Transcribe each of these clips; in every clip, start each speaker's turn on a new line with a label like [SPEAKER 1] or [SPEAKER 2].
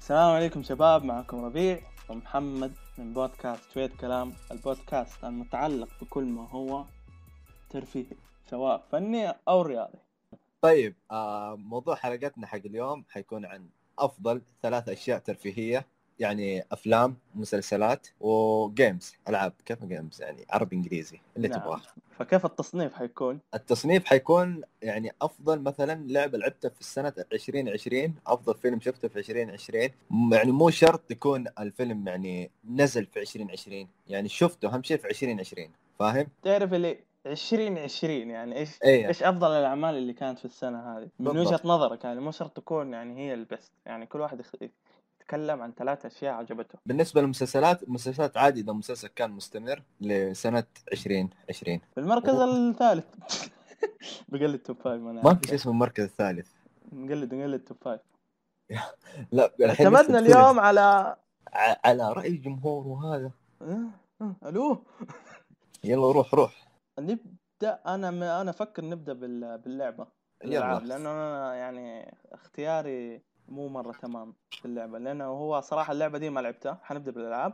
[SPEAKER 1] السلام عليكم شباب معكم ربيع ومحمد من بودكاست شوية كلام البودكاست المتعلق بكل ما هو ترفيهي سواء فني أو رياضي
[SPEAKER 2] طيب آه موضوع حلقتنا حق اليوم حيكون عن افضل ثلاث اشياء ترفيهيه يعني افلام مسلسلات وجيمز العاب كيف جيمز يعني عربي انجليزي اللي
[SPEAKER 1] نعم.
[SPEAKER 2] تبغاه
[SPEAKER 1] فكيف التصنيف حيكون؟
[SPEAKER 2] التصنيف حيكون يعني افضل مثلا لعبه لعبتها في السنه 2020 افضل فيلم شفته في 2020 م- يعني مو شرط يكون الفيلم يعني نزل في 2020 يعني شفته اهم شيء في 2020 فاهم
[SPEAKER 1] تعرف اللي 2020 يعني ايش
[SPEAKER 2] اي
[SPEAKER 1] ايش افضل الاعمال اللي كانت في السنه هذه من
[SPEAKER 2] إيه. بالضبط.
[SPEAKER 1] وجهه نظرك يعني مو شرط تكون يعني هي البست يعني كل واحد يخ- يتكلم عن ثلاث اشياء عجبته
[SPEAKER 2] بالنسبه للمسلسلات المسلسلات عادي اذا مسلسل كان مستمر لسنه 2020
[SPEAKER 1] في المركز
[SPEAKER 2] أوه.
[SPEAKER 1] الثالث بقلد توب فايف أنا
[SPEAKER 2] ما
[SPEAKER 1] عارف.
[SPEAKER 2] في شيء اسمه المركز الثالث
[SPEAKER 1] نقلد نقلد توب فايف
[SPEAKER 2] لا الحين لسه
[SPEAKER 1] اعتمدنا
[SPEAKER 2] بتقول
[SPEAKER 1] اليوم على
[SPEAKER 2] ع- على راي الجمهور وهذا
[SPEAKER 1] أه؟ أه؟ الو
[SPEAKER 2] يلا روح روح
[SPEAKER 1] نبدا انا ما انا افكر نبدا بال- باللعبه الالعاب
[SPEAKER 2] يلا
[SPEAKER 1] لانه انا يعني اختياري مو مره تمام في اللعبه لانه هو صراحه اللعبه دي ما لعبتها حنبدا بالالعاب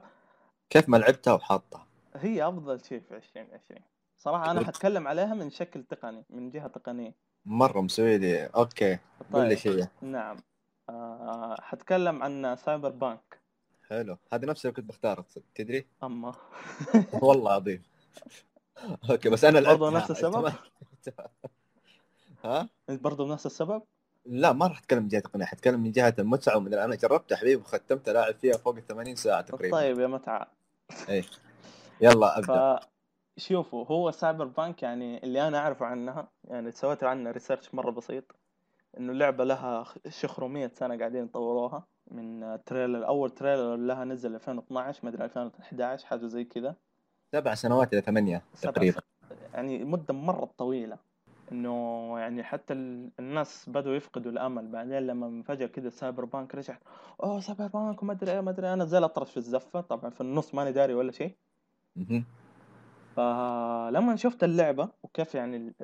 [SPEAKER 2] كيف ما لعبتها وحاطها
[SPEAKER 1] هي افضل شيء في 2020 صراحه انا حتكلم عليها من شكل تقني من جهه تقنيه
[SPEAKER 2] مره مسوي لي اوكي قول لي شيء
[SPEAKER 1] نعم آه حتكلم عن سايبر بانك
[SPEAKER 2] حلو هذا نفس اللي كنت بختاره تصدق، تدري
[SPEAKER 1] اما
[SPEAKER 2] والله عظيم اوكي بس انا لعبت
[SPEAKER 1] برضه نفس السبب
[SPEAKER 2] ها
[SPEAKER 1] برضه بنفس السبب
[SPEAKER 2] لا ما راح اتكلم من جهه تقنيه حتكلم من جهه المتعه ومن انا جربتها حبيبي وختمت لاعب فيها فوق ال 80 ساعه تقريبا طيب.
[SPEAKER 1] طيب يا متعه
[SPEAKER 2] يلا ابدا
[SPEAKER 1] فشوفوا هو سايبر بانك يعني اللي انا اعرفه عنها يعني سويت عنها ريسيرش مره بسيط انه اللعبه لها شخرو 100 سنه قاعدين يطوروها من تريلر اول تريلر لها نزل 2012 مدري 2011 حاجه زي كذا
[SPEAKER 2] سبع سنوات الى ثمانيه
[SPEAKER 1] سبع
[SPEAKER 2] تقريبا
[SPEAKER 1] يعني مده مره طويله انه يعني حتى ال- الناس بدوا يفقدوا الامل بعدين لما فجاه كذا سايبر بانك رجعت اوه سايبر بانك وما ادري ايه ما ادري إيه. انا زي الاطرش في الزفه طبعا في النص ماني داري ولا شيء
[SPEAKER 2] مهم.
[SPEAKER 1] فلما شفت اللعبة وكيف يعني ال...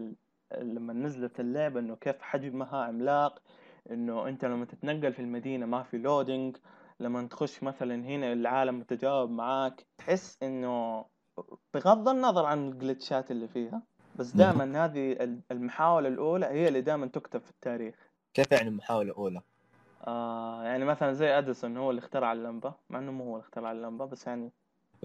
[SPEAKER 1] ال... لما نزلت اللعبة انه كيف حجمها عملاق انه انت لما تتنقل في المدينة ما في لودينج لما تخش مثلا هنا العالم متجاوب معاك تحس انه بغض النظر عن الجلتشات اللي فيها بس دائما هذه ال- المحاولة الأولى هي اللي دائما تكتب في التاريخ
[SPEAKER 2] كيف يعني محاوله اولى
[SPEAKER 1] آه يعني مثلا زي اديسون هو اللي اخترع اللمبة مع انه مو هو اللي اخترع اللمبة بس يعني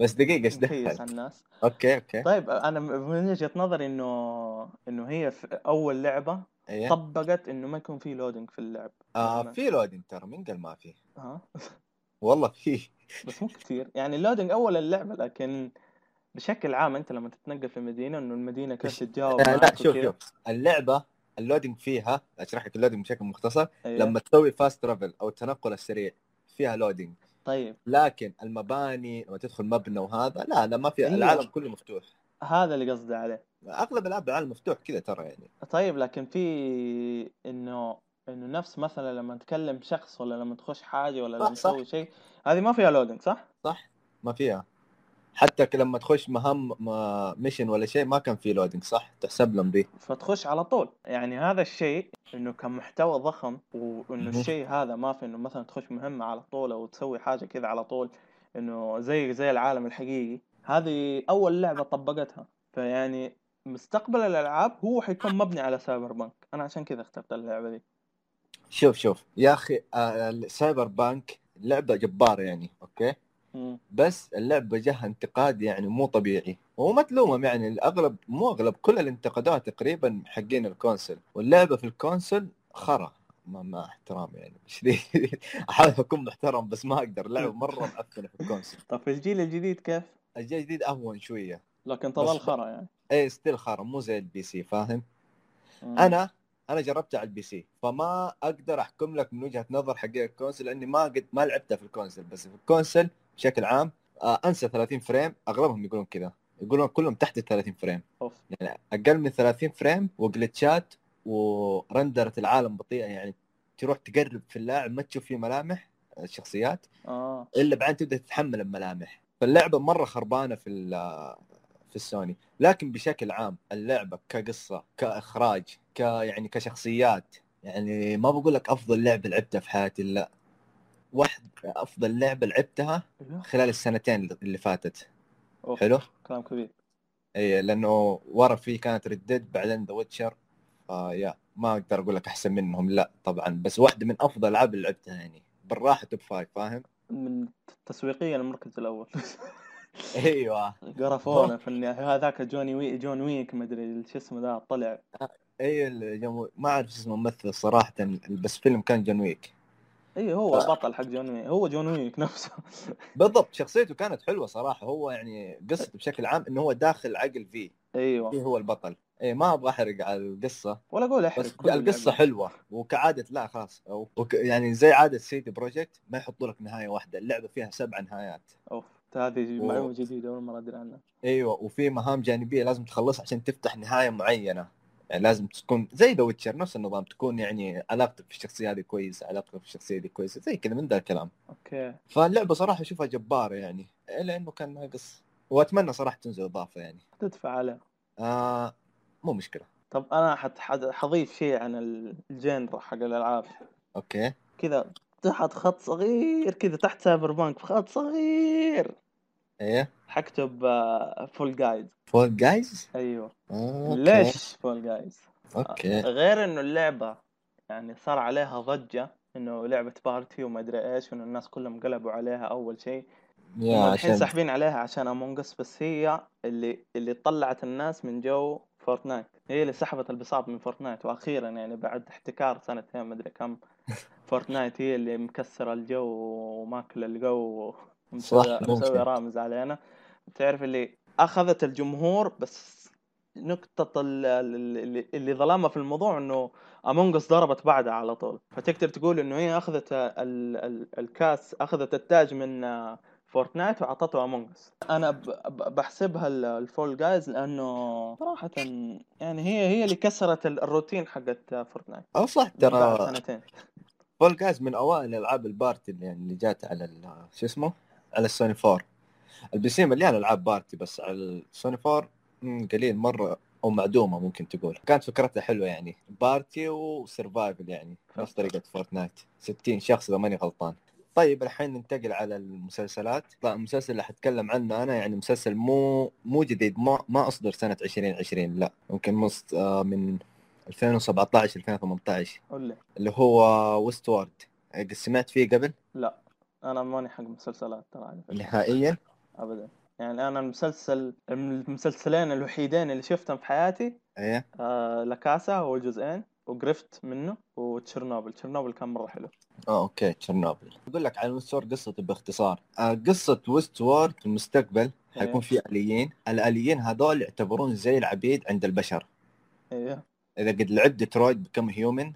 [SPEAKER 2] بس دقيقه
[SPEAKER 1] مكيس
[SPEAKER 2] ايش دخل
[SPEAKER 1] على الناس
[SPEAKER 2] اوكي اوكي
[SPEAKER 1] طيب انا من وجهه نظري انه انه هي في اول لعبه
[SPEAKER 2] ايه
[SPEAKER 1] طبقت انه ما يكون في لودنج في اللعب
[SPEAKER 2] آه
[SPEAKER 1] تمام.
[SPEAKER 2] في لودنج ترى من قال ما في
[SPEAKER 1] ها
[SPEAKER 2] والله في
[SPEAKER 1] بس مو كثير يعني اللودنج اول اللعبه لكن بشكل عام انت لما تتنقل في المدينه انه المدينه كيف
[SPEAKER 2] مش-
[SPEAKER 1] تتجاوب
[SPEAKER 2] آه لا
[SPEAKER 1] معك
[SPEAKER 2] شوف
[SPEAKER 1] وكذا.
[SPEAKER 2] شوف اللعبه اللودنج فيها اشرح لك اللودنج بشكل مختصر
[SPEAKER 1] أيوة.
[SPEAKER 2] لما تسوي فاست ترافل او التنقل السريع فيها لودنج
[SPEAKER 1] طيب
[SPEAKER 2] لكن المباني لما تدخل مبنى وهذا لا لا ما في
[SPEAKER 1] أيوة.
[SPEAKER 2] العالم كله مفتوح
[SPEAKER 1] هذا اللي قصدي عليه
[SPEAKER 2] اغلب العاب العالم مفتوح كذا ترى يعني
[SPEAKER 1] طيب لكن في انه انه نفس مثلا لما تكلم شخص ولا لما تخش حاجه ولا
[SPEAKER 2] صح،
[SPEAKER 1] لما
[SPEAKER 2] صح.
[SPEAKER 1] تسوي شيء هذه ما فيها لودنج صح؟
[SPEAKER 2] ما فيها حتى ك- لما تخش مهام ما- ميشن ولا شيء ما كان في لودنج صح تحسب لهم دي
[SPEAKER 1] فتخش على طول يعني هذا الشيء انه كمحتوى ضخم وانه
[SPEAKER 2] مهم.
[SPEAKER 1] الشيء هذا ما في انه مثلا تخش مهمة على طول او تسوي حاجة كذا على طول انه زي زي العالم الحقيقي هذه اول لعبة طبقتها فيعني مستقبل الالعاب هو حيكون مبني على سايبر بانك انا عشان كذا اخترت اللعبة دي
[SPEAKER 2] شوف شوف يا اخي آه، السايبر بانك لعبه جباره يعني اوكي
[SPEAKER 1] مم.
[SPEAKER 2] بس اللعبه جاها انتقاد يعني مو طبيعي وما تلومهم يعني الاغلب مو اغلب كل اللي انتقدوها تقريبا حقين الكونسل واللعبه في الكونسل خرا ما مع احترام يعني مش لي احاول اكون محترم بس ما اقدر اللعبه مره معفنه في الكونسل
[SPEAKER 1] طب في الجيل الجديد كيف؟
[SPEAKER 2] الجيل الجديد اهون شويه
[SPEAKER 1] لكن
[SPEAKER 2] بس-
[SPEAKER 1] تظل خرا يعني
[SPEAKER 2] اي ستيل خرا مو زي البي سي فاهم
[SPEAKER 1] مم.
[SPEAKER 2] انا انا جربتها على البي سي فما اقدر احكم لك من وجهه نظر حق الكونسل لاني ما قد ما لعبتها في الكونسل بس في الكونسل بشكل عام آه انسى 30 فريم اغلبهم يقولون كذا يقولون كلهم تحت ال 30 فريم
[SPEAKER 1] اوف
[SPEAKER 2] يعني اقل من 30 فريم وجلتشات ورندرة العالم بطيئه يعني تروح تقرب في اللاعب ما تشوف فيه ملامح آه، الشخصيات
[SPEAKER 1] اه
[SPEAKER 2] الا بعدين تبدا تتحمل الملامح فاللعبه مره خربانه في ال- في السوني لكن بشكل عام اللعبه كقصه كاخراج ك يعني كشخصيات يعني ما بقول لك افضل لعبه لعبتها في حياتي لا واحد افضل لعبه لعبتها
[SPEAKER 1] أيوه.
[SPEAKER 2] خلال السنتين اللي فاتت
[SPEAKER 1] أوف،
[SPEAKER 2] حلو
[SPEAKER 1] كلام كبير
[SPEAKER 2] اي لانه ورا في كانت ريدد بعدين ذا ويتشر فيا ما اقدر اقول لك احسن منهم لا طبعا بس واحده من افضل العاب اللي لعبتها يعني بالراحه توب فايف فاهم
[SPEAKER 1] من تسويقيا المركز الاول
[SPEAKER 2] ايوه
[SPEAKER 1] قرفونا في النهايه هذاك جوني وي جون ويك ما ادري شو اسمه ذا طلع
[SPEAKER 2] اي ال- يوم- ما اعرف شو اسمه الممثل صراحه بس فيلم كان جون ويك
[SPEAKER 1] اي إيه، هو
[SPEAKER 2] طيب.
[SPEAKER 1] البطل حق جون ويك هو جون ويك نفسه
[SPEAKER 2] بالضبط شخصيته كانت حلوه صراحه هو يعني قصته بشكل عام انه هو داخل عقل في في
[SPEAKER 1] ايوه
[SPEAKER 2] هو البطل اي ما ابغى احرق على القصه
[SPEAKER 1] ولا اقول احرق
[SPEAKER 2] بس
[SPEAKER 1] كل
[SPEAKER 2] القصه
[SPEAKER 1] اللعبة.
[SPEAKER 2] حلوه وكعاده لا خلاص وك يعني زي عاده سيدي بروجكت ما يحطوا لك نهايه واحده اللعبه فيها سبع نهايات
[SPEAKER 1] اوف هذه
[SPEAKER 2] و-
[SPEAKER 1] معلومه جديده اول مره ادري عنها
[SPEAKER 2] ايوه وفي مهام جانبيه لازم تخلصها عشان تفتح نهايه معينه يعني لازم تكون زي ذا ويتشر نفس النظام تكون يعني علاقتك في الشخصيه هذه كويسه علاقتك في الشخصيه دي كويسه زي كذا من ذا الكلام
[SPEAKER 1] اوكي
[SPEAKER 2] فاللعبه صراحه اشوفها جباره يعني الا انه كان ناقص واتمنى صراحه تنزل اضافه يعني
[SPEAKER 1] تدفع عليه
[SPEAKER 2] آه مو مشكله
[SPEAKER 1] طب انا حت- حت- حضيف شيء عن الجنر حق الالعاب
[SPEAKER 2] اوكي
[SPEAKER 1] كذا تحت خط صغير كذا تحت سايبر بانك بخط صغير
[SPEAKER 2] ايه
[SPEAKER 1] حكتب آه، فول جايد
[SPEAKER 2] فول جايز
[SPEAKER 1] ايوه ليش فول جايز
[SPEAKER 2] اوكي
[SPEAKER 1] غير انه اللعبه يعني صار عليها ضجه انه لعبه بارتي وما ادري ايش وانه الناس كلهم قلبوا عليها اول شيء
[SPEAKER 2] يا
[SPEAKER 1] هم الحين
[SPEAKER 2] عشان
[SPEAKER 1] ساحبين عليها عشان امونج اس بس هي اللي اللي طلعت الناس من جو فورتنايت هي اللي سحبت البساط من فورتنايت واخيرا يعني بعد احتكار سنتين مدري كم فورتنايت هي اللي مكسره الجو وماكله الجو ومسوية-
[SPEAKER 2] صح، ممكن.
[SPEAKER 1] مسوية رامز علينا تعرف اللي اخذت الجمهور بس نقطة ال- ال- اللي, اللي ظلامة في الموضوع انه امونج اس ضربت بعدها على طول فتقدر تقول انه هي اخذت ال- ال- الكاس اخذت التاج من آه، فورتنايت واعطته امونج اس انا ب- ب- بحسبها ال- الفول جايز لانه صراحة يعني هي هي اللي كسرت ال- الروتين حقت فورتنايت
[SPEAKER 2] او صح
[SPEAKER 1] بعد
[SPEAKER 2] ترى
[SPEAKER 1] سنتين
[SPEAKER 2] فول جايز من اوائل العاب البارتي اللي يعني اللي جات على ال- شو اسمه على السوني 4 البي سي مليان العاب بارتي بس على السوني 4 مم، قليل مره او معدومه ممكن تقول كانت فكرتها حلوه يعني بارتي وسرفايفل يعني نفس طريقه فورتنايت 60 شخص اذا ماني غلطان طيب الحين ننتقل على المسلسلات لا المسلسل اللي حتكلم عنه انا يعني مسلسل مو مو جديد ما ما اصدر سنه 2020 لا يمكن مص... آه، من 2017 2018
[SPEAKER 1] قول لي
[SPEAKER 2] اللي هو ويست وورد قد سمعت فيه قبل
[SPEAKER 1] لا انا ماني حق مسلسلات ترى على فكرة.
[SPEAKER 2] نهائيا
[SPEAKER 1] ابدا يعني انا المسلسل المسلسلين الوحيدين اللي شفتهم في حياتي
[SPEAKER 2] ايه
[SPEAKER 1] آه لكاسا هو الجزئين وقرفت منه وتشيرنوبل تشيرنوبل كان مره حلو
[SPEAKER 2] اه اوكي تشيرنوبل اقول لك عن ويست وورد قصته باختصار آه، قصه ويست وورد في المستقبل حيكون في اليين الاليين هذول يعتبرون زي العبيد عند البشر
[SPEAKER 1] ايوه
[SPEAKER 2] اذا قد لعبت ديترويت بكم هيومن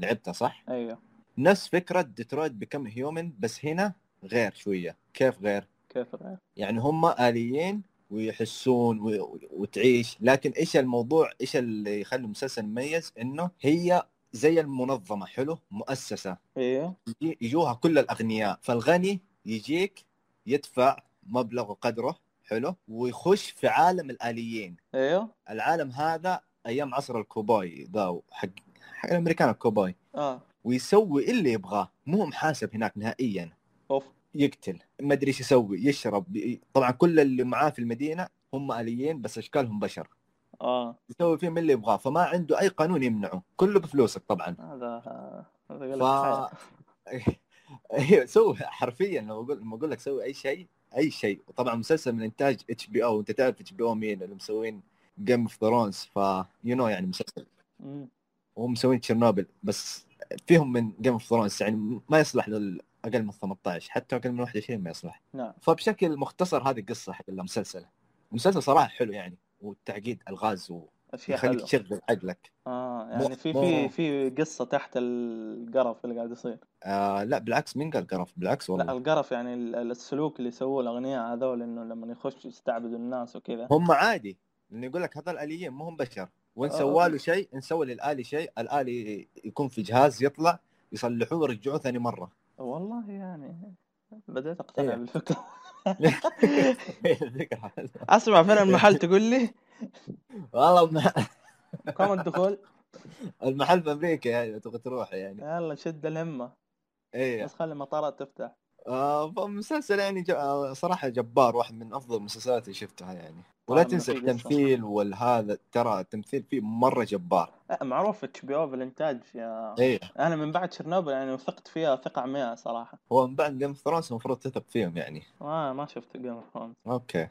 [SPEAKER 2] لعبتها صح
[SPEAKER 1] ايوه
[SPEAKER 2] نفس فكره ديترويت بكم هيومن بس هنا غير شويه كيف غير
[SPEAKER 1] كيف غير
[SPEAKER 2] يعني هم آليين ويحسون و... وتعيش لكن ايش الموضوع ايش اللي يخلي المسلسل مميز انه هي زي المنظمه حلو مؤسسه
[SPEAKER 1] ايوه
[SPEAKER 2] يجي- يجوها كل الاغنياء فالغني يجيك يدفع مبلغ وقدره حلو ويخش في عالم الاليين
[SPEAKER 1] ايوه
[SPEAKER 2] العالم هذا ايام عصر الكوباي ذا حق حق الامريكان الكوباي
[SPEAKER 1] اه
[SPEAKER 2] ويسوي اللي يبغاه مو محاسب هناك نهائيا
[SPEAKER 1] اوف
[SPEAKER 2] يقتل ما ادري ايش يسوي يشرب ي- طبعا كل اللي معاه في المدينه هم اليين بس اشكالهم بشر
[SPEAKER 1] اه
[SPEAKER 2] يسوي فيهم اللي يبغاه فما عنده اي قانون يمنعه كله بفلوسك طبعا
[SPEAKER 1] هذا هذا
[SPEAKER 2] ف
[SPEAKER 1] قلب حياة.
[SPEAKER 2] ايوه سوي حرفيا لما اقول لما اقول لك سوي اي شيء اي شيء وطبعا مسلسل من انتاج اتش بي او وانت تعرف اتش بي او مين اللي مسوين جيم اوف ثرونز ف يو نو يعني مسلسل
[SPEAKER 1] أمم.
[SPEAKER 2] وهم مسوين تشيرنوبل بس فيهم من جيم اوف ثرونز يعني ما يصلح لل اقل من 18 حتى اقل من 21 ما يصلح
[SPEAKER 1] نعم
[SPEAKER 2] فبشكل مختصر هذه القصه حق المسلسل المسلسل صراحه حلو يعني والتعقيد الغاز
[SPEAKER 1] اشياء
[SPEAKER 2] ويخليك
[SPEAKER 1] حلوه
[SPEAKER 2] تشغل عقلك
[SPEAKER 1] اه يعني في
[SPEAKER 2] مو-
[SPEAKER 1] في في قصه تحت القرف اللي قاعد يصير
[SPEAKER 2] آه لا بالعكس مين قال قرف بالعكس
[SPEAKER 1] لا
[SPEAKER 2] والله
[SPEAKER 1] القرف يعني ال- ال- السلوك اللي سووه الاغنياء هذول انه لما يخش يستعبدوا الناس وكذا
[SPEAKER 2] هم عادي لانه يقول لك هذول اليين ما هم بشر وان
[SPEAKER 1] آه.
[SPEAKER 2] سوى له شيء ان سوى للالي شيء الالي يكون في جهاز يطلع يصلحوه ويرجعوه ثاني مره
[SPEAKER 1] والله يعني بديت اقتنع
[SPEAKER 2] إيه.
[SPEAKER 1] بالفكره
[SPEAKER 2] الفكرة.
[SPEAKER 1] اسمع فين المحل تقول لي
[SPEAKER 2] والله الم-
[SPEAKER 1] كم الدخول
[SPEAKER 2] المحل في امريكا يعني تبغى تروح يعني
[SPEAKER 1] يلا شد الهمه
[SPEAKER 2] ايه
[SPEAKER 1] بس خلي المطارات تفتح
[SPEAKER 2] آه فمسلسل يعني ج... آه، صراحة جبار واحد من أفضل المسلسلات اللي شفتها يعني ولا
[SPEAKER 1] آه، إنه
[SPEAKER 2] تنسى
[SPEAKER 1] في قصة.
[SPEAKER 2] التمثيل والهذا ترى التمثيل فيه مرة جبار
[SPEAKER 1] أه، معروف اتش بي او بالانتاج يا
[SPEAKER 2] إيه
[SPEAKER 1] انا من بعد شرنوبل يعني وثقت فيها ثقة عمياء صراحة
[SPEAKER 2] هو من بعد جيم اوف ثرونز المفروض تثق فيهم يعني
[SPEAKER 1] ما ما شفت جيم اوف ثرونز
[SPEAKER 2] أوكي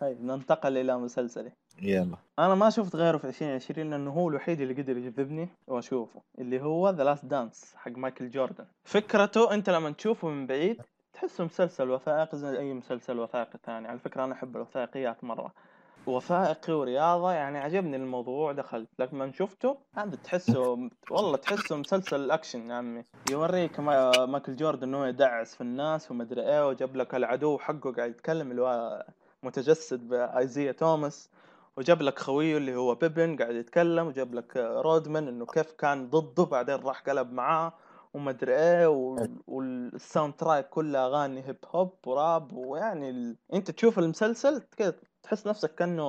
[SPEAKER 1] طيب ننتقل الى مسلسلي
[SPEAKER 2] يلا
[SPEAKER 1] انا ما شفت غيره في 2020 لانه هو الوحيد اللي قدر يجذبني واشوفه اللي هو ذا لاست دانس حق مايكل جوردن فكرته انت لما تشوفه من بعيد تحسه مسلسل وثائقي زي اي مسلسل وثائقي ثاني على فكره انا احب الوثائقيات مره وثائقي ورياضه يعني عجبني الموضوع دخلت لكن من شفته هذا تحسه والله تحسه مسلسل اكشن يا عمي يوريك ما- مايكل جوردن انه يدعس في الناس ومدري ايه وجاب لك العدو حقه قاعد يتكلم اللي هو متجسد بايزيا توماس وجاب لك خويه اللي هو بيبن قاعد يتكلم وجاب لك آه، رودمان انه كيف كان ضده بعدين راح قلب معاه وما ادري ايه وال- والساوند تراك كله اغاني هيب هوب وراب ويعني ال... انت تشوف المسلسل كذا تحس نفسك كانه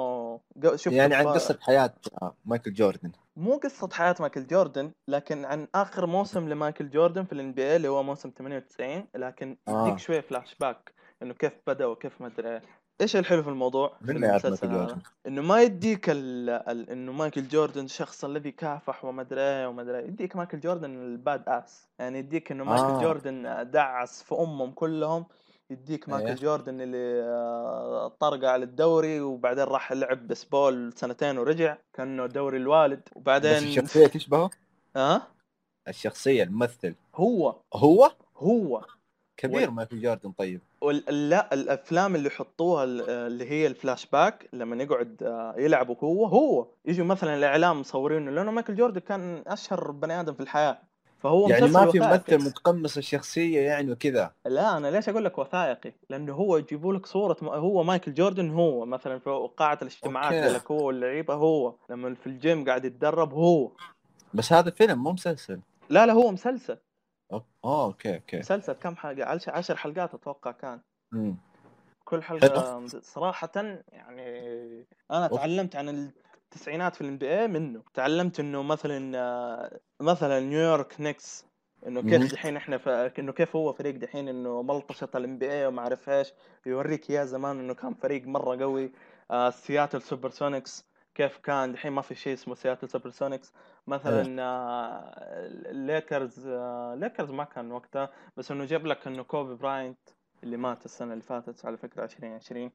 [SPEAKER 1] جو- شفت
[SPEAKER 2] يعني عن
[SPEAKER 1] ب-
[SPEAKER 2] قصة حياة آه، مايكل جوردن
[SPEAKER 1] مو قصة حياة مايكل جوردن لكن عن آخر موسم لمايكل جوردن في الان بي اي اللي هو موسم 98 لكن
[SPEAKER 2] آه.
[SPEAKER 1] يديك شوية فلاش باك انه كيف بدأ وكيف ما ادري إيه. ايش الحلو في الموضوع في
[SPEAKER 2] من يعرف
[SPEAKER 1] المسلسل آه،
[SPEAKER 2] مايكل
[SPEAKER 1] هذا
[SPEAKER 2] جوردن
[SPEAKER 1] انه ما يديك ال... ال... انه مايكل جوردن الشخص الذي كافح وما ادري ايه وما ادري إيه. يديك مايكل جوردن الباد اس يعني يديك انه مايكل
[SPEAKER 2] آه.
[SPEAKER 1] جوردن دعس في امهم كلهم يديك مايكل
[SPEAKER 2] إيه.
[SPEAKER 1] جوردن اللي آه، طرقع على الدوري وبعدين راح لعب بيسبول سنتين ورجع كانه دوري الوالد
[SPEAKER 2] بس
[SPEAKER 1] وبعدين
[SPEAKER 2] الشخصية تشبهه
[SPEAKER 1] ها
[SPEAKER 2] الشخصية الممثل
[SPEAKER 1] هو
[SPEAKER 2] هو
[SPEAKER 1] هو
[SPEAKER 2] كبير
[SPEAKER 1] وال-
[SPEAKER 2] مايكل جوردن طيب
[SPEAKER 1] وال- لا الافلام اللي يحطوها ال- اللي هي الفلاش باك لما يقعد آه، يلعبوا هو هو يجوا مثلا الاعلام مصورينه لانه مايكل جوردن كان اشهر بني ادم في الحياه فهو
[SPEAKER 2] يعني
[SPEAKER 1] مسلسل
[SPEAKER 2] ما في
[SPEAKER 1] وثائقي.
[SPEAKER 2] ممثل متقمص الشخصية يعني وكذا
[SPEAKER 1] لا انا ليش اقول لك وثائقي؟ لانه هو يجيبوا لك صوره م- هو مايكل جوردن هو مثلا في قاعه الاجتماعات
[SPEAKER 2] أوكي.
[SPEAKER 1] يقول لك هو اللعيبه هو لما في الجيم قاعد يتدرب هو
[SPEAKER 2] بس هذا فيلم مو مسلسل
[SPEAKER 1] لا لا هو مسلسل
[SPEAKER 2] أوك- اه اوكي اوكي
[SPEAKER 1] مسلسل كم حلقه عش- عشر حلقات اتوقع كان
[SPEAKER 2] مم.
[SPEAKER 1] كل حلقه صراحه يعني انا تعلمت عن التسعينات في الان بي اي منه تعلمت انه مثلا آه، مثلا نيويورك نيكس انه
[SPEAKER 2] مم.
[SPEAKER 1] كيف دحين احنا ف... انه كيف هو فريق دحين انه ملطشه الان بي اي وما اعرف ايش يوريك يا زمان انه كان فريق مره قوي آه سياتل سوبر سونيكس كيف كان دحين ما في شيء اسمه سياتل سوبر سونيكس مثلا آه، الليكرز آه، الليكرز ما كان وقتها بس انه جاب لك انه كوبي براينت اللي مات السنه اللي فاتت على فكره 2020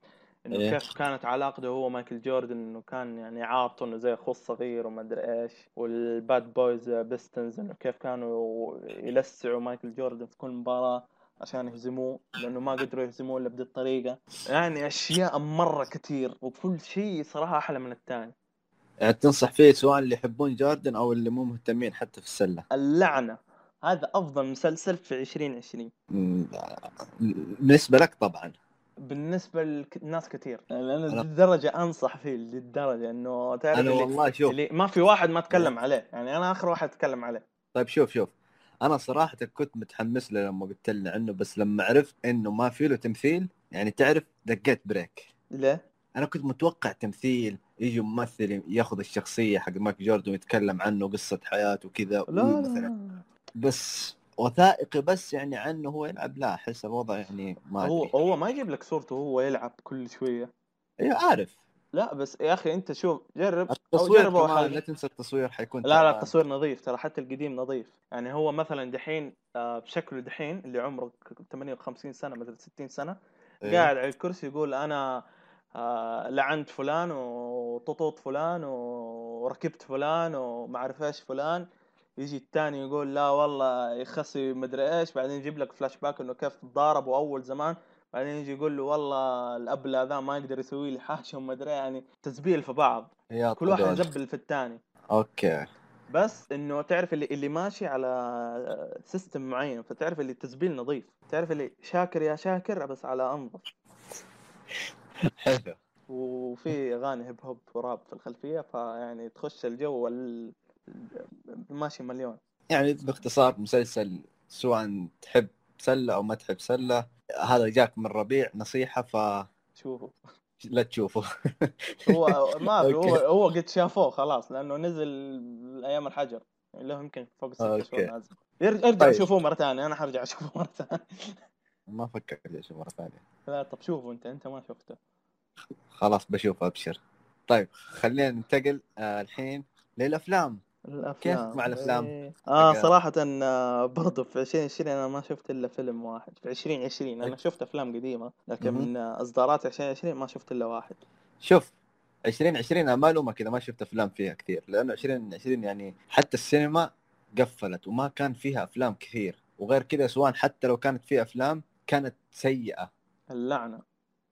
[SPEAKER 1] انه
[SPEAKER 2] إيه.
[SPEAKER 1] كيف كانت علاقته هو مايكل جوردن انه كان يعني عابطه انه زي اخوه الصغير وما ادري ايش والباد بويز بيستنز انه كيف كانوا يلسعوا مايكل جوردن في كل مباراه عشان يهزموه لانه ما قدروا يهزموه الا بهذه الطريقه يعني اشياء مره كثير وكل شيء صراحه احلى من الثاني
[SPEAKER 2] يعني تنصح فيه سواء اللي يحبون جاردن او اللي مو مهتمين حتى في السله
[SPEAKER 1] اللعنه هذا افضل مسلسل في 2020
[SPEAKER 2] مم، بالنسبه لك طبعا
[SPEAKER 1] بالنسبه لناس كثير يعني انا
[SPEAKER 2] أنا-
[SPEAKER 1] للدرجه انصح فيه للدرجه انه تعرف
[SPEAKER 2] انا
[SPEAKER 1] اللي-
[SPEAKER 2] والله شوف
[SPEAKER 1] اللي ما في واحد ما تكلم عليه يعني انا اخر واحد اتكلم عليه
[SPEAKER 2] طيب شوف شوف انا صراحه كنت متحمس له لما قلت لي عنه بس لما عرفت انه ما في له تمثيل يعني تعرف دقيت بريك
[SPEAKER 1] ليه؟
[SPEAKER 2] انا كنت متوقع تمثيل يجي ممثل ياخذ الشخصيه حق مايك جوردن ويتكلم عنه قصه حياته وكذا
[SPEAKER 1] لا
[SPEAKER 2] مثلاً.
[SPEAKER 1] لا
[SPEAKER 2] بس وثائقي بس يعني عنه هو يلعب لا احس الوضع يعني ما
[SPEAKER 1] هو
[SPEAKER 2] ادري
[SPEAKER 1] هو ما يجيب لك صورته وهو يلعب كل شويه
[SPEAKER 2] ايوه عارف
[SPEAKER 1] لا بس يا اخي انت شوف جرب او
[SPEAKER 2] التصوير
[SPEAKER 1] جربوا
[SPEAKER 2] كمان لا
[SPEAKER 1] حاجه
[SPEAKER 2] تنسى التصوير حيكون
[SPEAKER 1] لا لا
[SPEAKER 2] تعبان.
[SPEAKER 1] التصوير نظيف ترى حتى القديم نظيف يعني هو مثلا دحين آه، بشكله دحين اللي عمره 58 سنه مثلا 60 سنه
[SPEAKER 2] إيه.
[SPEAKER 1] قاعد على الكرسي يقول انا آه، لعنت فلان وططوط فلان وركبت فلان وما اعرف ايش فلان يجي الثاني يقول لا والله يخسي مدري ايش بعدين يجيب لك فلاش باك انه كيف تضاربوا اول زمان بعدين يجي يقول له والله الابله ذا ما يقدر يسوي لي حاجه وما ادري إيه، يعني تزبيل في بعض
[SPEAKER 2] يا
[SPEAKER 1] كل واحد
[SPEAKER 2] طلال.
[SPEAKER 1] يزبل في الثاني
[SPEAKER 2] اوكي
[SPEAKER 1] بس انه تعرف اللي اللي ماشي على سيستم معين فتعرف اللي التزبيل نظيف تعرف اللي شاكر يا شاكر بس على انظف
[SPEAKER 2] حلو
[SPEAKER 1] وفي اغاني هيب هوب وراب في الخلفيه فيعني تخش الجو ال- ماشي مليون
[SPEAKER 2] يعني باختصار مسلسل سواء تحب سله او ما تحب سله هذا جاك من ربيع نصيحه فلا
[SPEAKER 1] شوفوا
[SPEAKER 2] تشوفه
[SPEAKER 1] هو ما في هو
[SPEAKER 2] أوكي.
[SPEAKER 1] هو قد شافوه خلاص لانه نزل ايام الحجر له يمكن فوق الست
[SPEAKER 2] أوكي.
[SPEAKER 1] اشهر نازل يرج- ارجع
[SPEAKER 2] طيب.
[SPEAKER 1] شوفوه مره ثانيه انا حرجع اشوفه مره ثانيه
[SPEAKER 2] ما فكرت اشوف مره ثانيه
[SPEAKER 1] لا طب شوفه انت انت ما شفته
[SPEAKER 2] خلاص بشوف ابشر طيب خلينا ننتقل آه الحين للافلام
[SPEAKER 1] الافلام
[SPEAKER 2] كيف مع الأفلام؟
[SPEAKER 1] إيه. اه
[SPEAKER 2] حق-
[SPEAKER 1] صراحه آه، برضو في 2020 انا ما شفت الا فيلم واحد في 2020 انا
[SPEAKER 2] طيب.
[SPEAKER 1] شفت افلام قديمه لكن
[SPEAKER 2] مهم.
[SPEAKER 1] من آه، اصدارات 2020 ما شفت الا واحد
[SPEAKER 2] شوف 2020 انا ما الومك اذا ما شفت افلام فيها كثير لانه 2020 يعني حتى السينما قفلت وما كان فيها افلام كثير وغير كذا سواء حتى لو كانت فيها افلام كانت سيئه
[SPEAKER 1] اللعنه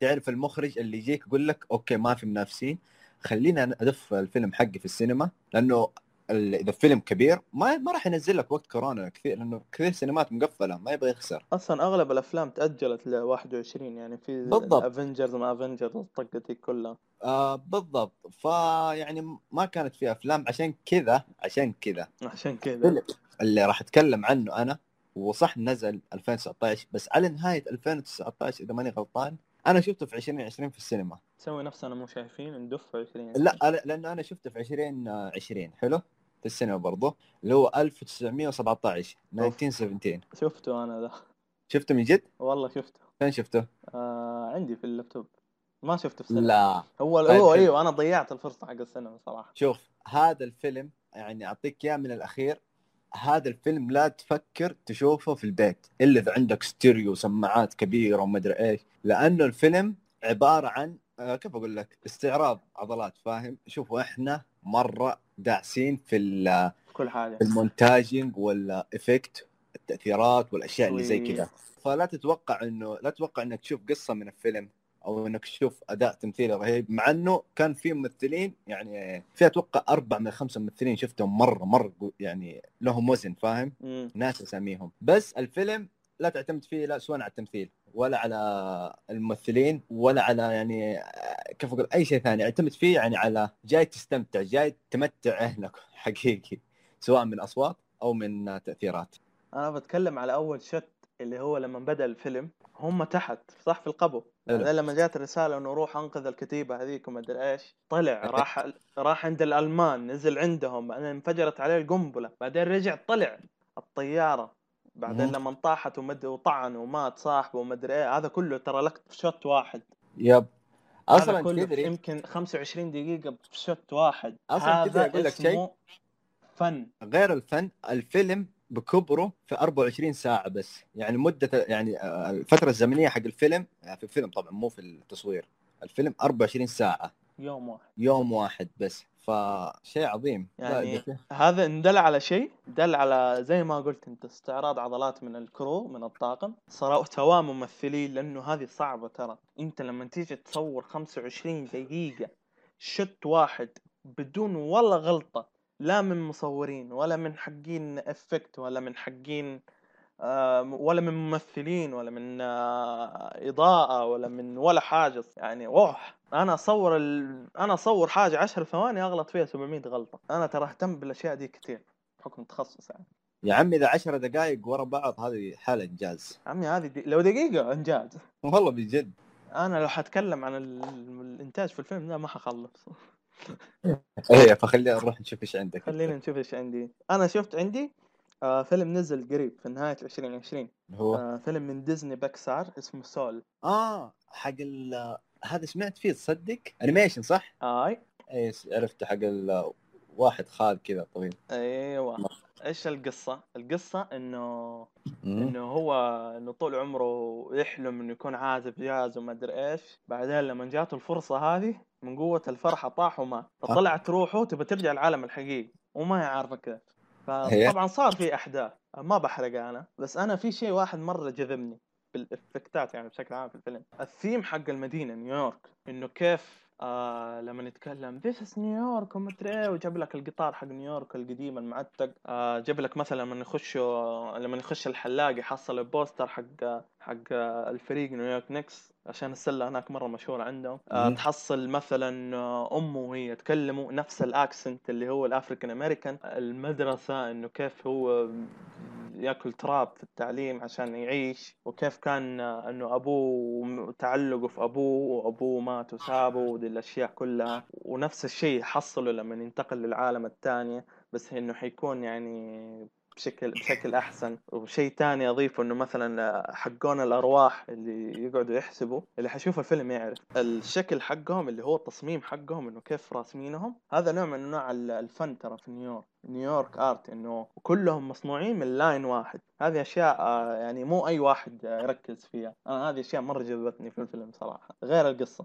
[SPEAKER 2] تعرف المخرج اللي يجيك يقول لك اوكي ما في منافسين خلينا ادف الفيلم حقي في السينما لانه ال- اذا فيلم كبير ما ما راح ينزل لك وقت كورونا كثير لانه كثير سينمات مقفله ما يبغى يخسر
[SPEAKER 1] اصلا اغلب الافلام تاجلت ل 21 يعني في
[SPEAKER 2] بالضبط.
[SPEAKER 1] افنجرز ما افنجرز الطقه دي كلها
[SPEAKER 2] آه بالضبط فيعني ما كانت فيها افلام عشان كذا عشان كذا
[SPEAKER 1] عشان كذا
[SPEAKER 2] فيلم اللي راح اتكلم عنه انا وصح نزل 2019 بس على نهايه 2019 اذا ماني غلطان انا شفته في 2020 في السينما
[SPEAKER 1] نسوي نفسنا مو شايفين ندف 20
[SPEAKER 2] لا أنا- لانه انا شفته في 2020 حلو في السينما برضه اللي هو 1917 1917
[SPEAKER 1] شفته انا ذا
[SPEAKER 2] شفته من جد؟
[SPEAKER 1] والله شفته
[SPEAKER 2] فين شفته؟
[SPEAKER 1] آه عندي في اللابتوب ما شفته في السينما
[SPEAKER 2] لا
[SPEAKER 1] هو
[SPEAKER 2] طيب،
[SPEAKER 1] هو
[SPEAKER 2] حلو.
[SPEAKER 1] ايوه انا ضيعت الفرصه حق السينما صراحه
[SPEAKER 2] شوف هذا الفيلم يعني اعطيك اياه من الاخير هذا الفيلم لا تفكر تشوفه في البيت الا اذا عندك ستيريو وسماعات كبيره وما ادري ايش لانه الفيلم عباره عن آه، كيف اقول لك استعراض عضلات فاهم شوفوا احنا مره داعسين في ال-
[SPEAKER 1] في كل حاجه
[SPEAKER 2] في المونتاجنج والافكت التاثيرات والاشياء اللي زي كذا فلا تتوقع انه لا تتوقع انك تشوف قصه من الفيلم او انك تشوف اداء تمثيلي رهيب مع انه كان في ممثلين يعني في اتوقع اربع من خمسه ممثلين شفتهم مره مره قو- يعني لهم وزن فاهم
[SPEAKER 1] مم.
[SPEAKER 2] ناس اساميهم بس الفيلم لا تعتمد فيه لا سواء على التمثيل ولا على الممثلين ولا على يعني آه، كيف اقول اي شيء ثاني اعتمد فيه يعني على جاي تستمتع جاي تمتع اهلك حقيقي سواء من اصوات او من آه، تاثيرات
[SPEAKER 1] انا بتكلم على اول شت اللي هو لما بدا الفيلم هم تحت صح في القبو
[SPEAKER 2] حلو.
[SPEAKER 1] بعدين لما جات الرساله انه روح انقذ الكتيبه هذيك وما ادري ايش طلع راح راح عند الالمان نزل عندهم بعدين انفجرت عليه القنبله بعدين رجع طلع الطياره بعدين
[SPEAKER 2] مم.
[SPEAKER 1] لما انطاحت ومد وطعن ومات صاحبه وما ادري ايه هذا كله ترى لك في شوت واحد
[SPEAKER 2] يب
[SPEAKER 1] هذا
[SPEAKER 2] اصلا
[SPEAKER 1] كله في
[SPEAKER 2] تدري
[SPEAKER 1] يمكن 25 دقيقة بشوت واحد
[SPEAKER 2] أصلاً تدري
[SPEAKER 1] هذا
[SPEAKER 2] أقول لك شيء؟
[SPEAKER 1] اسمه فن
[SPEAKER 2] غير الفن الفيلم بكبره في 24 ساعة بس يعني مدة يعني آه، الفترة الزمنية حق الفيلم يعني في الفيلم طبعا مو في التصوير الفيلم 24 ساعة
[SPEAKER 1] يوم واحد
[SPEAKER 2] يوم واحد بس فشيء عظيم لا،
[SPEAKER 1] يعني
[SPEAKER 2] إذا-
[SPEAKER 1] هذا ان دل على شيء دل على زي ما قلت انت استعراض عضلات من الكرو من الطاقم صراو- سواء ممثلين لانه هذه صعبة ترى انت لما تيجي تصور 25 دقيقة شوت واحد بدون ولا غلطة لا من مصورين ولا من حقين افكت ولا من حقين آه، ولا من ممثلين ولا من آه، إضاءة ولا من ولا حاجة يعني وح أنا أصور ال... أنا أصور حاجة عشر ثواني أغلط فيها 700 غلطة أنا ترى أهتم بالأشياء دي كتير بحكم تخصص يعني
[SPEAKER 2] يا عمي اذا 10 دقائق ورا بعض هذه حالة انجاز
[SPEAKER 1] عمي هذه دي... لو دقيقة إنجاز
[SPEAKER 2] والله بجد
[SPEAKER 1] أنا لو حتكلم عن ال... الإنتاج في الفيلم ده ما حخلص
[SPEAKER 2] ايه فخلينا نروح نشوف ايش عندك
[SPEAKER 1] خلينا نشوف إيش عندي أنا شفت عندي آه فيلم نزل قريب في نهاية 2020
[SPEAKER 2] هو
[SPEAKER 1] آه فيلم من ديزني بيكسار اسمه سول
[SPEAKER 2] اه حق ال هذا سمعت فيه تصدق انيميشن صح؟
[SPEAKER 1] آي
[SPEAKER 2] ايه عرفته حق ال واحد خال كذا طويل
[SPEAKER 1] ايوه ايش القصه القصه انه انه هو انه طول عمره يحلم انه يكون عازف جاز وما ادري ايش بعدين لما جاته الفرصه هذه من قوه الفرحه طاح ومات فطلعت روحه تبى ترجع العالم الحقيقي وما هي عارفه كيف فطبعا صار في احداث ما بحرق انا بس انا في شيء واحد مره جذبني بالافكتات يعني بشكل عام في الفيلم الثيم حق المدينه نيويورك انه كيف آه لما نتكلم ذيس از نيويورك ومدري ايه وجاب لك القطار حق نيويورك القديم المعتق آه جاب لك مثلا لما يخشوا لما يخش الحلاق يحصل البوستر حق حق الفريق نيويورك نيكس عشان السله هناك مره مشهوره عندهم آه
[SPEAKER 2] مم.
[SPEAKER 1] تحصل مثلا آه، امه وهي يتكلموا نفس الاكسنت اللي هو الافريكان امريكان المدرسه انه كيف هو ياكل تراب في التعليم عشان يعيش وكيف كان آه، انه ابوه م- تعلقه في ابوه وابوه مات وسابه ودي الاشياء كلها ونفس الشيء حصله لما ينتقل للعالم الثاني بس انه حيكون يعني بشكل بشكل احسن وشيء ثاني اضيفه انه مثلا حقون الارواح اللي يقعدوا يحسبوا اللي حيشوف الفيلم يعرف الشكل حقهم اللي هو التصميم حقهم انه كيف راسمينهم هذا نوع من انواع الفن ترى في نيويورك نيويورك ارت انه كلهم مصنوعين من لاين واحد هذه اشياء آه، يعني مو اي واحد آه، يركز فيها انا هذه اشياء مره جذبتني في الفيلم صراحه غير القصه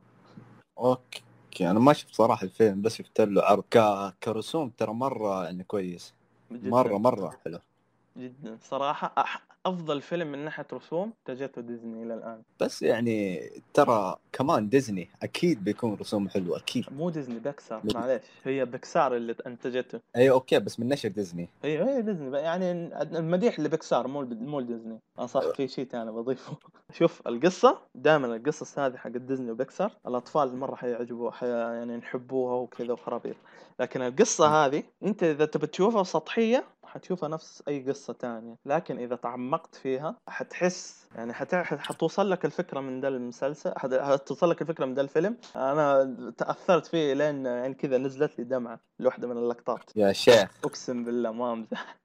[SPEAKER 2] اوكي اوكي انا ما شفت صراحه الفيلم بس شفت له عرض ك... كرسوم ترى مره يعني كويس
[SPEAKER 1] جداً.
[SPEAKER 2] مره مره حلو
[SPEAKER 1] جدا صراحه أح- افضل فيلم من ناحيه رسوم تجته ديزني الى الان
[SPEAKER 2] بس يعني ترى كمان ديزني اكيد بيكون رسوم حلوه اكيد
[SPEAKER 1] مو ديزني بيكسار معليش هي بيكسار اللي انتجته
[SPEAKER 2] اي اوكي إيه، بس من نشر ديزني
[SPEAKER 1] هي هي ديزني بقى- يعني المديح لبيكسار مو الب- مو ديزني اه صح في شيء ثاني بضيفه شوف القصه دائما القصص هذه حق ديزني وبيكسار الاطفال مره حيعجبوها حي يعني نحبوها وكذا وخرابيط لكن القصه هذه انت اذا تبي تشوفها سطحيه حتشوفها نفس اي قصه تانية لكن اذا تعمقت فيها حتحس يعني حت... حتوصل لك الفكره من ده المسلسل حت... حتوصل لك الفكره من ده الفيلم انا تاثرت فيه لين يعني كذا نزلت لي دمعه لوحده من اللقطات
[SPEAKER 2] يا شيخ
[SPEAKER 1] اقسم بالله ما امزح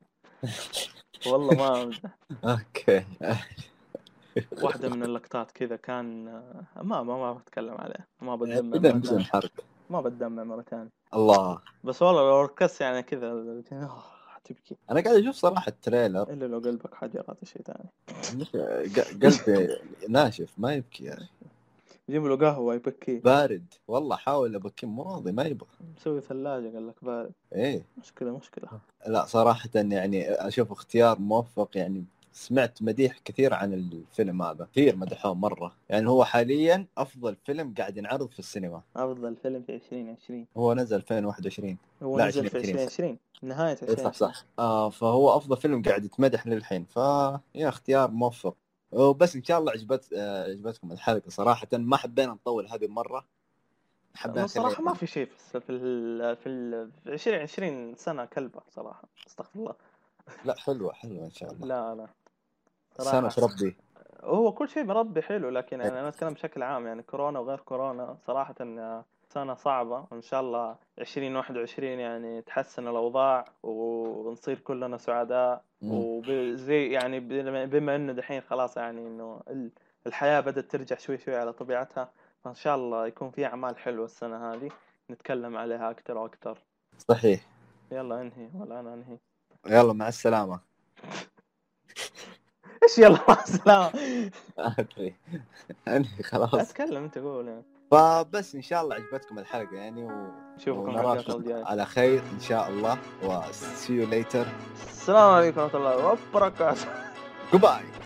[SPEAKER 1] والله ما امزح
[SPEAKER 2] اوكي
[SPEAKER 1] واحده من اللقطات كذا كان ما ما ما بتكلم عليه ما بتدمع
[SPEAKER 2] بدون
[SPEAKER 1] مرة
[SPEAKER 2] بدون
[SPEAKER 1] ثانية.
[SPEAKER 2] حرق
[SPEAKER 1] ما بتدمع مره ثانيه
[SPEAKER 2] الله
[SPEAKER 1] بس والله لو ركزت يعني كذا آه، حتبكي
[SPEAKER 2] انا قاعد اشوف صراحه التريلر
[SPEAKER 1] الا لو قلبك حجرات شيء ثاني
[SPEAKER 2] ق- قلبي ناشف ما يبكي يعني
[SPEAKER 1] جيب له قهوه يبكي
[SPEAKER 2] بارد والله حاول ابكي مو راضي ما يبغى
[SPEAKER 1] مسوي ثلاجه قال لك بارد
[SPEAKER 2] ايه
[SPEAKER 1] مشكله مشكله
[SPEAKER 2] لا صراحه يعني اشوف اختيار موفق يعني سمعت مديح كثير عن الفيلم هذا كثير مدحوه مره يعني هو حاليا افضل فيلم قاعد ينعرض في السينما
[SPEAKER 1] افضل فيلم في 2020
[SPEAKER 2] هو نزل 2021
[SPEAKER 1] هو
[SPEAKER 2] لا،
[SPEAKER 1] نزل في
[SPEAKER 2] 2020.
[SPEAKER 1] 2020 نهايه
[SPEAKER 2] اي صح
[SPEAKER 1] 2020
[SPEAKER 2] صح آه فهو افضل فيلم قاعد يتمدح للحين ف يا اختيار موفق وبس ان شاء الله عجبت آه عجبتكم الحلقه صراحه ما حبينا نطول هذه المره حبينا
[SPEAKER 1] أنا صراحه ما
[SPEAKER 2] نخليها-
[SPEAKER 1] في شيء في في ال- في ال- في 2020 سنه كلبه صراحه استغفر الله
[SPEAKER 2] لا حلوه حلوه ان شاء الله
[SPEAKER 1] لا لا
[SPEAKER 2] سنه
[SPEAKER 1] صراحة
[SPEAKER 2] ربي إيه.
[SPEAKER 1] هو كل شيء بربي حلو لكن يعني انا اتكلم بشكل عام يعني كورونا وغير كورونا صراحة آه، سنة صعبة وان شاء الله 2021 يعني تحسن الاوضاع ونصير كلنا سعداء وزي يعني بما- بما انه دحين خلاص يعني انه ال- الحياة بدأت ترجع شوي شوي على طبيعتها فان شاء الله يكون في اعمال حلوة السنة هذه نتكلم عليها اكثر واكثر
[SPEAKER 2] صحيح
[SPEAKER 1] يلا انهي ولا انا انهي
[SPEAKER 2] يلا مع السلامه
[SPEAKER 1] ايش يلا مع السلامة
[SPEAKER 2] ادري انهي خلاص
[SPEAKER 1] اتكلم انت قول يعني
[SPEAKER 2] فبس ان شاء الله عجبتكم الحلقه يعني و...
[SPEAKER 1] نشوفكم الحلقة
[SPEAKER 2] ونراكم
[SPEAKER 1] الجاية
[SPEAKER 2] على خير ان شاء الله و see you later
[SPEAKER 1] السلام عليكم ورحمة الله وبركاته
[SPEAKER 2] goodbye